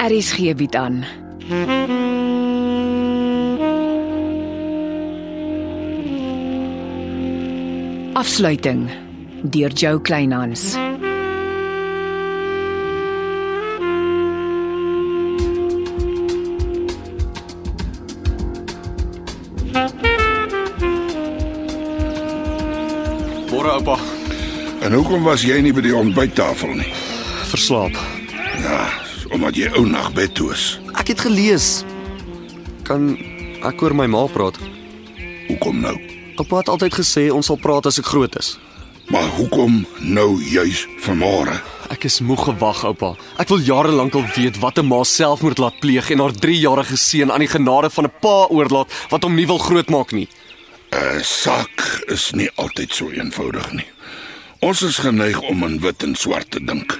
Aries gee bied Er aan. Afsluiting deur Jo Kleinhans. Môre oupa. En hoekom was jy nie by die ontbyttafel nie? Verslaap. Ja, omdat jy ou nag bed toe is. Ek het gelees. Kan ek oor my ma praat? Hoekom nou? Oupa het altyd gesê ons sal praat as ek groot is. Maar hoekom nou juis vanmôre? Ek is moeg gewag, oupa. Ek wil jare lank al weet wat 'n ma selfmoord laat pleeg en haar 3-jarige seun aan die genade van 'n pa oorlaat wat hom nie wil grootmaak nie. 'n Sak Eh, is nie altyd so eenvoudig nie. Ons is geneig om aan wit en swart te dink,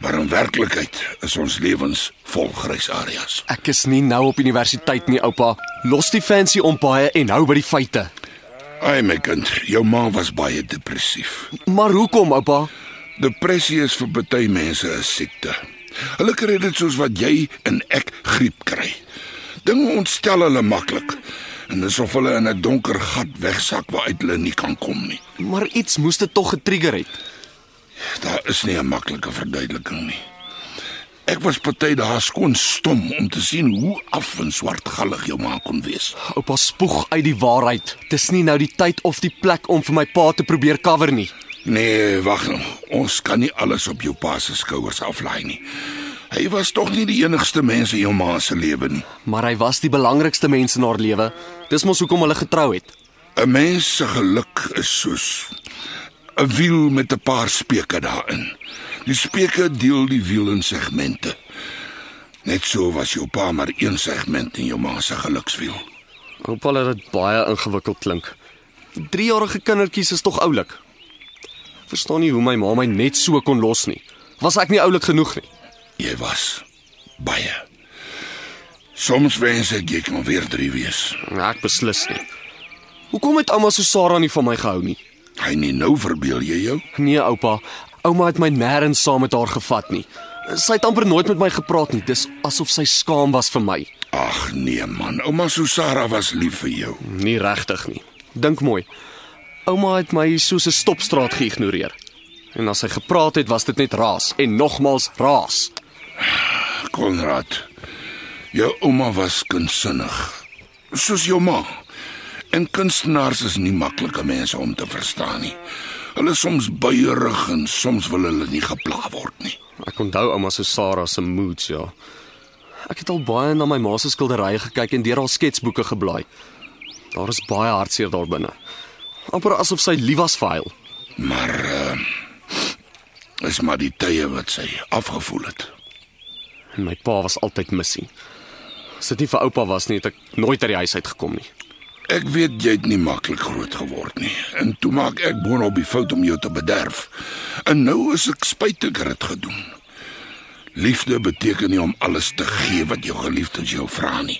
maar in werklikheid is ons lewens vol grys areas. Ek is nie nou op universiteit nie, oupa. Los die fancy ompaaie en hou by die feite. Ai my kind, jou ma was baie depressief. Maar hoekom, oupa? Depressie is vir baie mense 'n siekte. Hulle kry dit soos wat jy en ek griep kry. Dinge ontstel hulle maklik en asof hulle in 'n donker gat wegsak waaruit hulle nie kan kom nie. Maar iets moes dit tog getrigger het. Daar is nie 'n maklike verduideliking nie. Ek was party dae skoon stom om te sien hoe af en swartgallig jou ma kon wees. Oupa spoeg uit die waarheid. Dis nie nou die tyd of die plek om vir my pa te probeer cover nie. Nee, wag nou. Ons kan nie alles op jou pa se skouers aflaai nie. Hy was tog nie die enigste mens in jou ma se lewe nie. Maar hy was die belangrikste mens in haar lewe. Dis mos hoekom hulle getrou het. 'n Mens se geluk is soos 'n wiel met 'n paar speke daarin. Die speke deel die wiel in segmente. Net so was jou pa maar een segment in jou ma se gelukswiel. Hoop hulle dit baie ingewikkeld klink. 3-jarige kindertjies is tog oulik. Verstaan nie hoe my ma my net so kon los nie. Was ek nie oulik genoeg nie? Jy was baie. Soms wens ek jy kon weer drie wees. Nee, Ek beslis nie. Hoekom het ouma so Sarah nie van my gehou nie? Hy nie nou verbeel jy jou? Nee, oupa. Ouma het my nêrens saam met haar gevat nie. Sy het amper nooit met my gepraat nie. Dis asof sy skaam was vir my. Ag nee man, ouma Susara was lief vir jou. Nie regtig nie. Dink mooi. Ouma het my soos 'n stopstraat geïgnoreer. En as sy gepraat het, was dit net raas en nogmals raas. Konrad, jou ouma was kunstsinnig, soos jou ma. En kunstenaars is nie maklike mense om te verstaan nie. Hulle is soms buierig en soms wil hulle nie gepla word nie. Ek onthou ouma se Sarah se moods, ja. Ek het al baie na my ma se skilderye gekyk en deur haar sketsboeke geblaai. Daar is baie hartseer daar binne. amper asof sy lief was vir hom. Maar uh, is maar die tye wat sy afgevoel het. En my pa was altyd missie. As dit nie vir oupa was nie, het ek nooit uit die huis uit gekom nie. Ek weet jy het nie maklik groot geword nie en toe maak ek boonop die fout om jou te bederf. En nou is ek spyt ek het dit gedoen. Liefde beteken nie om alles te gee wat jou geliefdes jou vra nie.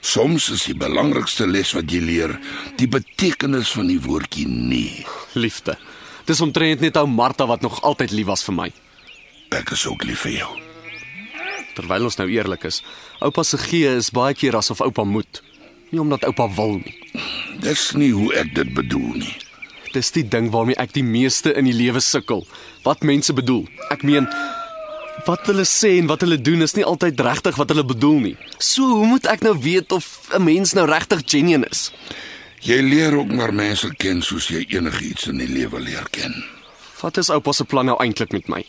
Soms is die belangrikste les wat jy leer die betekenis van die woordjie nee. Liefde. Dis omtrent net ou Martha wat nog altyd lief was vir my. Ek is ook lief vir jou. Terwyl ons nou eerlik is, oupa se gee is baie keer asof oupa moet, nie omdat oupa wil nie. Dis nie hoe ek dit bedoel nie. Dis die ding waarmee ek die meeste in die lewe sukkel. Wat mense bedoel. Ek meen wat hulle sê en wat hulle doen is nie altyd regtig wat hulle bedoel nie. So hoe moet ek nou weet of 'n mens nou regtig genuine is? Jy leer ook maar mense ken soos jy enigiets in die lewe leer ken. Wat is oupa se plan nou eintlik met my?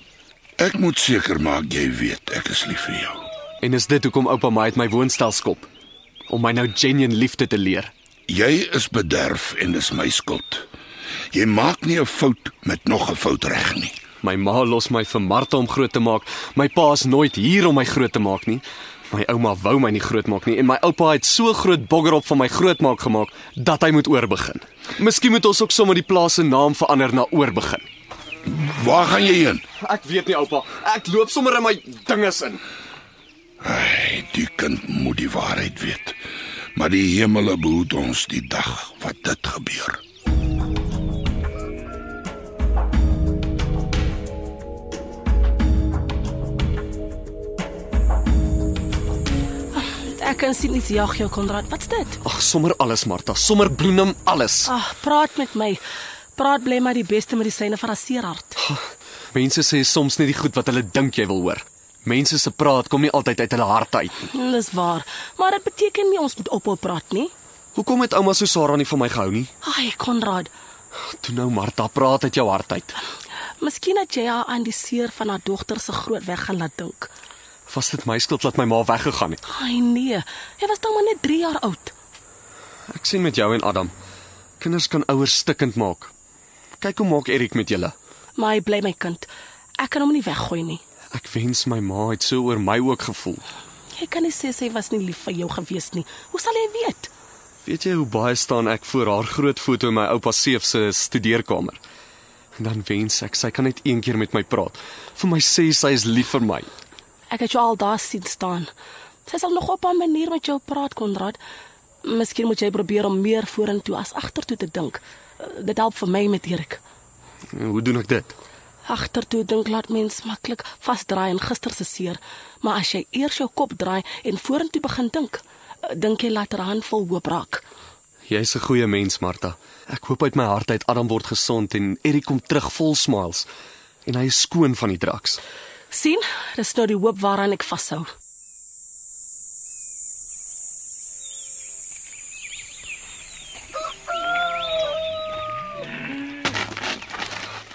Ek moet seker maak jy weet ek is lief vir jou. En is dit hoekom oupa my uit my woonstel skop? Om my nou genuine liefde te leer. Jy is bederf en dis my skuld. Jy maak nie 'n fout met nog 'n fout reg nie. My ma los my vir Martha om groot te maak. My pa is nooit hier om my groot te maak nie. My ouma wou my nie grootmaak nie en my oupa het so groot boggerop van my grootmaak gemaak dat hy moet oorbegin. Miskien moet ons ook sommer die plaas se naam verander na oorbegin. Waar gaan jy heen? Ek weet nie oupa, ek loop sommer in my dinges in. Ai, die kind moet die waarheid weet. Maar die hemel behoed ons die dag wat dit gebeur. Ek kan sien iets jag jou Konrad. Wat's dit? Ag, sommer alles Martha, sommer Bloenem alles. Ag, praat met my. Praat bly maar die beste medisyne vir 'n seerhart. Mense sê soms net die goed wat hulle dink jy wil hoor. Mense se praat kom nie altyd uit hulle harte uit nie. Dis waar. Maar dit beteken nie ons moet ophou praat nie. Hoekom het ouma so Sarah nie van my gehou nie? Ai, Konrad. Toe nou Martha, praat uit jou hart uit. Miskien het jy haar aan die seer van haar dogter se groot weg gaan laat dink. Was dit my skuld dat my ma weggegaan het? Ai nee, jy was dan maar net 3 jaar oud. Ek sien met jou en Adam. Kinders kan ouers stikkend maak. Kyk hoe maak Erik met julle. Maar hy bly my kind. Ek kan hom nie weggooi nie. Ek wens my ma het so oor my ook gevoel. Jy kan nie sê sy was nie lief vir jou gewees nie. Hoe sal hy weet? Weet jy hoe baie staan ek voor haar groot foto in my oupa Seef se studeerkamer? En dan wens ek sy kan net een keer met my praat. Vir my sê sy is lief vir my. Ek het jou al daar sien staan. Sy sal nog op 'n manier met jou praat, Konrad. Miskien moet jy probeer om meer vorentoe as agtertoe te dink. Eh, Dit help vir my met Erik. En hoe doen ek dit? Agtertoe dink laat mens maklik vasdraai in gister se seer, maar as jy eers jou kop draai en vorentoe begin dink, eh, dink jy later handvol hoop raak. Jy's 'n goeie mens, Martha. Ek hoop uit my hart uit Adam word gesond en Erik kom terug vol smiles en hy is skoon van die draks. sien? Dis nou die hoop waaraan ek vashou.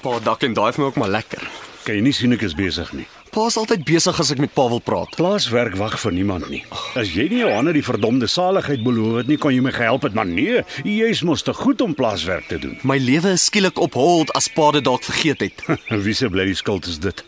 Pa dak en daai vir my ook maar lekker. Kan jy nie sien ek is besig nie. Pa's altyd besig as ek met Pa wil praat. Plaaswerk wag vir niemand nie. As jy nie Johanna die verdomde saligheid beloof het nie, kon jy my gehelp het, maar nee, jy's mos te goed om plaaswerk te doen. My lewe is skielik op hold as Pa dit dalk vergeet het. Wie se bly die skuld is dit?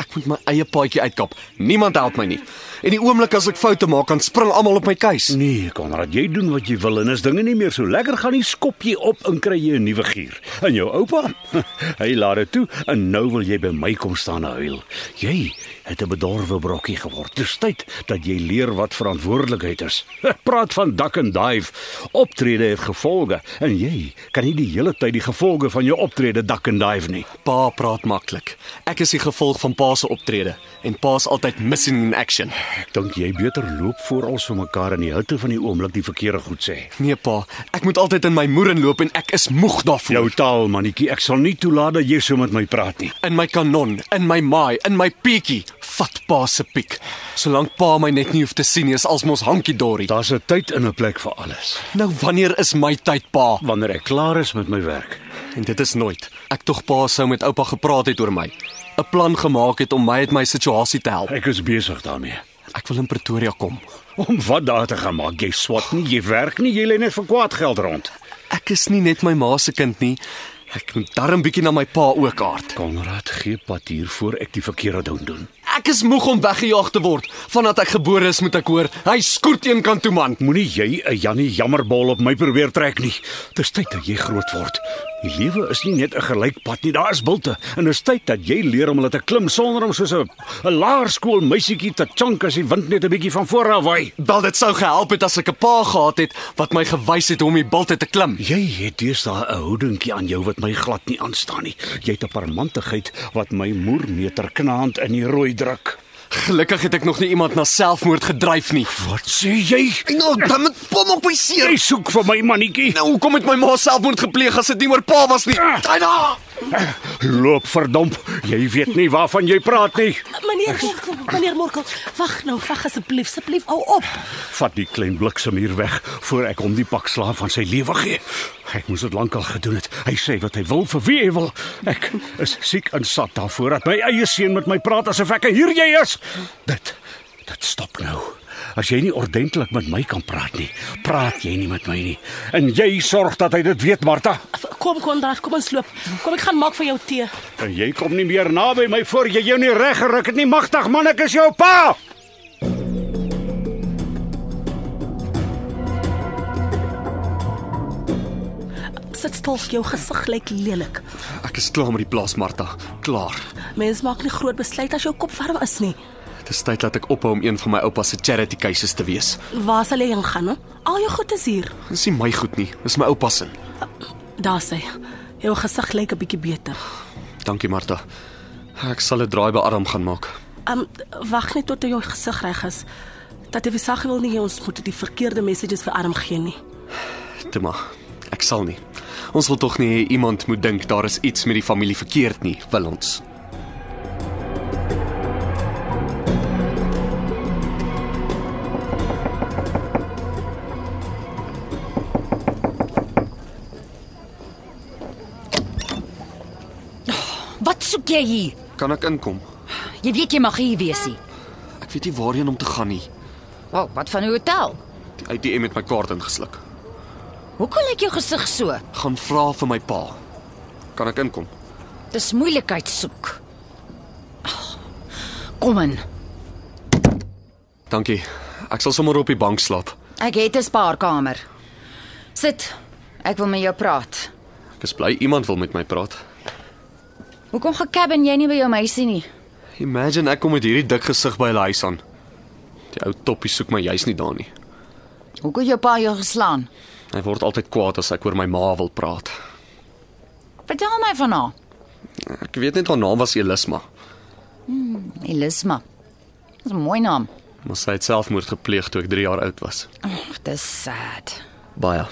Ek moet my eie paadjie uitkap. Niemand help my nie. En die oomblik as ek foute maak, dan spring almal op my keus. Nee, Konrad, jy doen wat jy wil en as dinge nie meer so lekker gaan nie, skop jy op en kry jy 'n nuwe gier. En jou oupa, hy laat dit toe en nou wil jy by my kom staan en huil. Jy het 'n bedorwe brokkie geword. Dis tyd dat jy leer wat verantwoordelikheid is. Praat van dak en dive. Optrede het gevolge en jy kan nie die hele tyd die gevolge van jou optrede dak en dive nie. Pa praat maklik. Ek is die gevolg van pa se optrede en pa's altyd missing in action. Ek dink jy beter loop voor ons vir mekaar in die hitte van die oomblik die verkeerde goed sê. Nee pa, ek moet altyd in my moer inloop en ek is moeg daarvoor. Jou taal, mannetjie, ek sal nie toelaat dat jy so met my praat nie. in my kanon, in my maai, in my pietjie, vat pa se piek. Solank pa my net nie hoef te sien nie, is alsmos hankie dorie. Daar's 'n tyd en 'n plek vir alles. Nou wanneer is my tyd pa? Wanneer ek klaar is met my werk. En dit is nooit. Ek tog pa sou met oupa gepraat het oor my. 'n Plan gemaak het om my uit my situasie te help. Ek is besig daarmee. Ek wil in Pretoria kom. Om wat daar te gaan maak. Jy swat nie, jy werk nie, jy lê net vir kwaad geld rond. Ek is nie net my ma se kind nie. Ek moet darm bietjie na my pa ook aard. Konrad gee pad hier voor ek die verkeerde ding doen. Ek is moeg om weggejaag te word. Vandat ek gebore is, moet ek hoor, hy skoort een kant toe man. Moenie jy 'n Jannie jammerbol op my probeer trek nie. Dis tyd dat jy groot word. Die lewe is nie net 'n gelykpad nie, daar is bulte en dis tyd dat jy leer om hulle te klim sonder om soos 'n 'n laerskool meisietjie te chunk as die wind net 'n bietjie van voor af waai. Wel dit sou gehelp het as ek 'n pa gehad het wat my gewys het hoe om die bilte te klim. Jy het deesdae 'n houdingkie aan jou wat my glad nie aanstaan nie. Jy het 'n parmantigheid wat my moermeter knaand in die rooi druk. Gelukkig het ek nog nie iemand na selfmoord gedryf nie. Wat sê jy? Nou, dan moet pom op my seer. Jy soek vir my mannetjie. Nou, hoekom het my ma selfmoord gepleeg as dit nie oor pa was nie? Tina! Loop verdomp. Jy weet nie waarvan jy praat nie. Meneer Morkel, meneer Morkel, wag nou, wag asseblief, asseblief hou op. Vat die klein bliksem hier weg voor ek hom die pak slaaf van sy lewe gee. Ek moes dit lankal gedoen het. Hy sê wat hy wil vir wie hy wil. Ek is siek en sat daarvoor dat my eie seun met my praat asof ek 'n huurjy is. Dit dit stop nou. As jy nie ordentlik met my kan praat nie, praat jy nie met my nie. En jy sorg dat hy dit weet, Martha. Kom Konrad, kom ons loop. Kom ek gaan maak vir jou tee. En jy kom nie meer naby my voor jy jou nie reg geruk het nie. Magtig man, ek is jou pa. Sit stil, jou gesig lyk lelik. Ek is klaar met die plaas, Martha. Klaar. Mens maak nie groot besluit as jou kop warm is nie. Dis tyd dat ek ophou om een van my oupa se charity cases te wees. Waar sal jy heen gaan? He? Al jou goed is hier. Dis nie my goed nie, dis my oupa se. Daar sê. Jou gesig lyk 'n bietjie beter. Dankie, Martha. Ehm, Ek sal 'n draai by Adam gaan maak. Um wag net tot jou gesig reg is. Tante Visagi wil nie hê ons moet die verkeerde messages vir Adam gee nie. Tema, ek sal nie. Ons wil tog nie hê iemand moet dink daar is iets met die familie verkeerd nie, wil ons. Wat soek jy hier? Kan ek inkom? Jy weet jy mag hier wees nie. Ek weet nie waarheen om te gaan nie. O, oh, wat van 'n hotel? Die ATM het my kaart ingesluk. Hoekom lyk jou gesig so? Gaan vra vir my pa. Kan ek inkom? Dis moeilikheid soek. Ag, Kom in. Dankie. Ek sal sommer op die bank slaap. Ek het 'n spaarkamer. Sit. Ek wil met jou praat. Ek is bly iemand wil met my praat. Hoekom gekabben jy nie by jou meisie nie? Imagine ek kom met hierdie dik gesig by hulle huis aan. Die ou toppie soek my juis nie daar nie. Hoekom jou pa jou geslaan? Hy word altyd kwaad as ek oor my ma wil praat. Vertel my van haar. Ek weet net haar naam was Elisma, Elisma. Dis 'n mooi naam. maar sy het selfmoord gepleeg toe ek 3 jaar oud was. Ag, dis sad. Baie.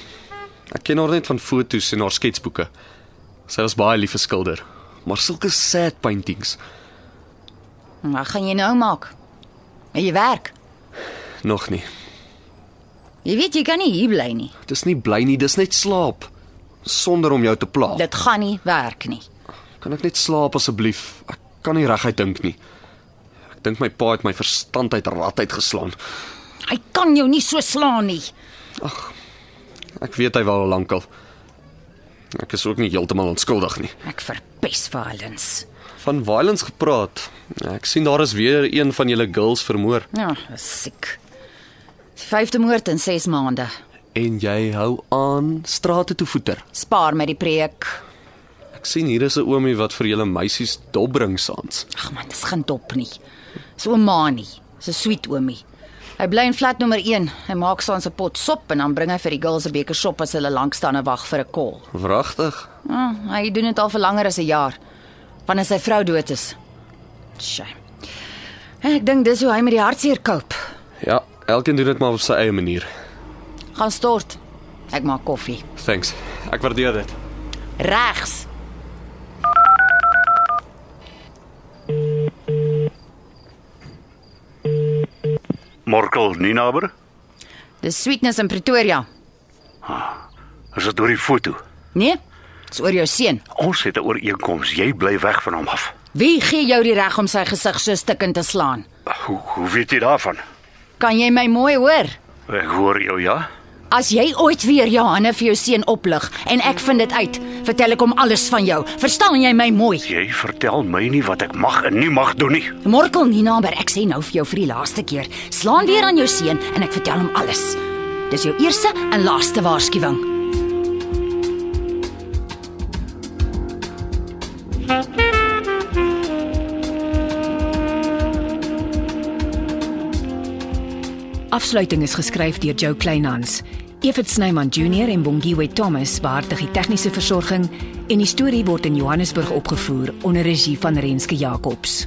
Ek ken haar net van fotos en haar sketsboeke. Sy was baie lief vir skilder, maar sulke sad paintings. Wat gaan jy nou maak? Met jou werk. Nog nie. Jy weet jy kan nie hier bly nie. Dis nie bly nie, dis net slaap sonder om jou te pla. Dit gaan nie werk nie. Kan ek net slaap asseblief? Ek kan nie reguit dink nie. Ek dink my pa het my verstand uit rad uitgeslaan. Hy kan jou nie so slaan nie. Ek weet hy wou al lankal. Ek is ook nie heeltemal onskuldig nie. Ek verpes violence. Van violence gepraat. Ek sien daar is weer een van julle girls vermoor Ja, dis siek. Die vyfde moord in 6 maande. en jy hou aan strate toe voeter. Spaar met die preek. Ek sien hier is 'n oomie wat vir julle meisies dop bring saans. Ag man, dis geen dop nie. Dis ouma nie. Dis 'n sweet oomie. Hy bly in flat nommer 1. Hy maak soms 'n pot sop en dan bring hy vir die girls 'n beker sop as hulle lank staan en wag vir 'n kol. Wragtig? Ja, hy doen dit al vir langer as 'n jaar. Wanneer sy vrou dood is. Shame. Ek dink dis hoe hy met die hartseer koop. Ja, elkeen doen dit maar op sy eie manier. Gaan stort. Ek maak koffie. Thanks. Ek waardeer dit. Regs. Morkel, nie naboer? Dis sweetness in Pretoria. Is dit oor die foto? Nee? Dis oor jou seun. Ons het 'n ooreenkoms, jy bly weg van hom af. Wie gee jou die reg om sy gesig so stikkend te slaan? Hoe hoe weet jy daarvan? Kan jy my mooi hoor? Ek hoor jou, ja. As jy ooit weer jou hande vir jou seun oplig en ek vind dit uit, vertel ek hom alles van jou. Verstaan jy my mooi? Jy vertel my nie wat ek mag en nie mag doen nie. Morkel Nina, maar ek sê nou vir jou vir die laaste keer, slaan weer aan jou seun en ek vertel hom alles. Dis jou eerste en laaste waarskuwing. Afsluiting is geskryf deur Jo Kleinhans. Evit Snyman Junior en Bongwe Thomas beheerdig die tegniese versorging en die storie word in Johannesburg opgevoer onder regie van Renske Jacobs.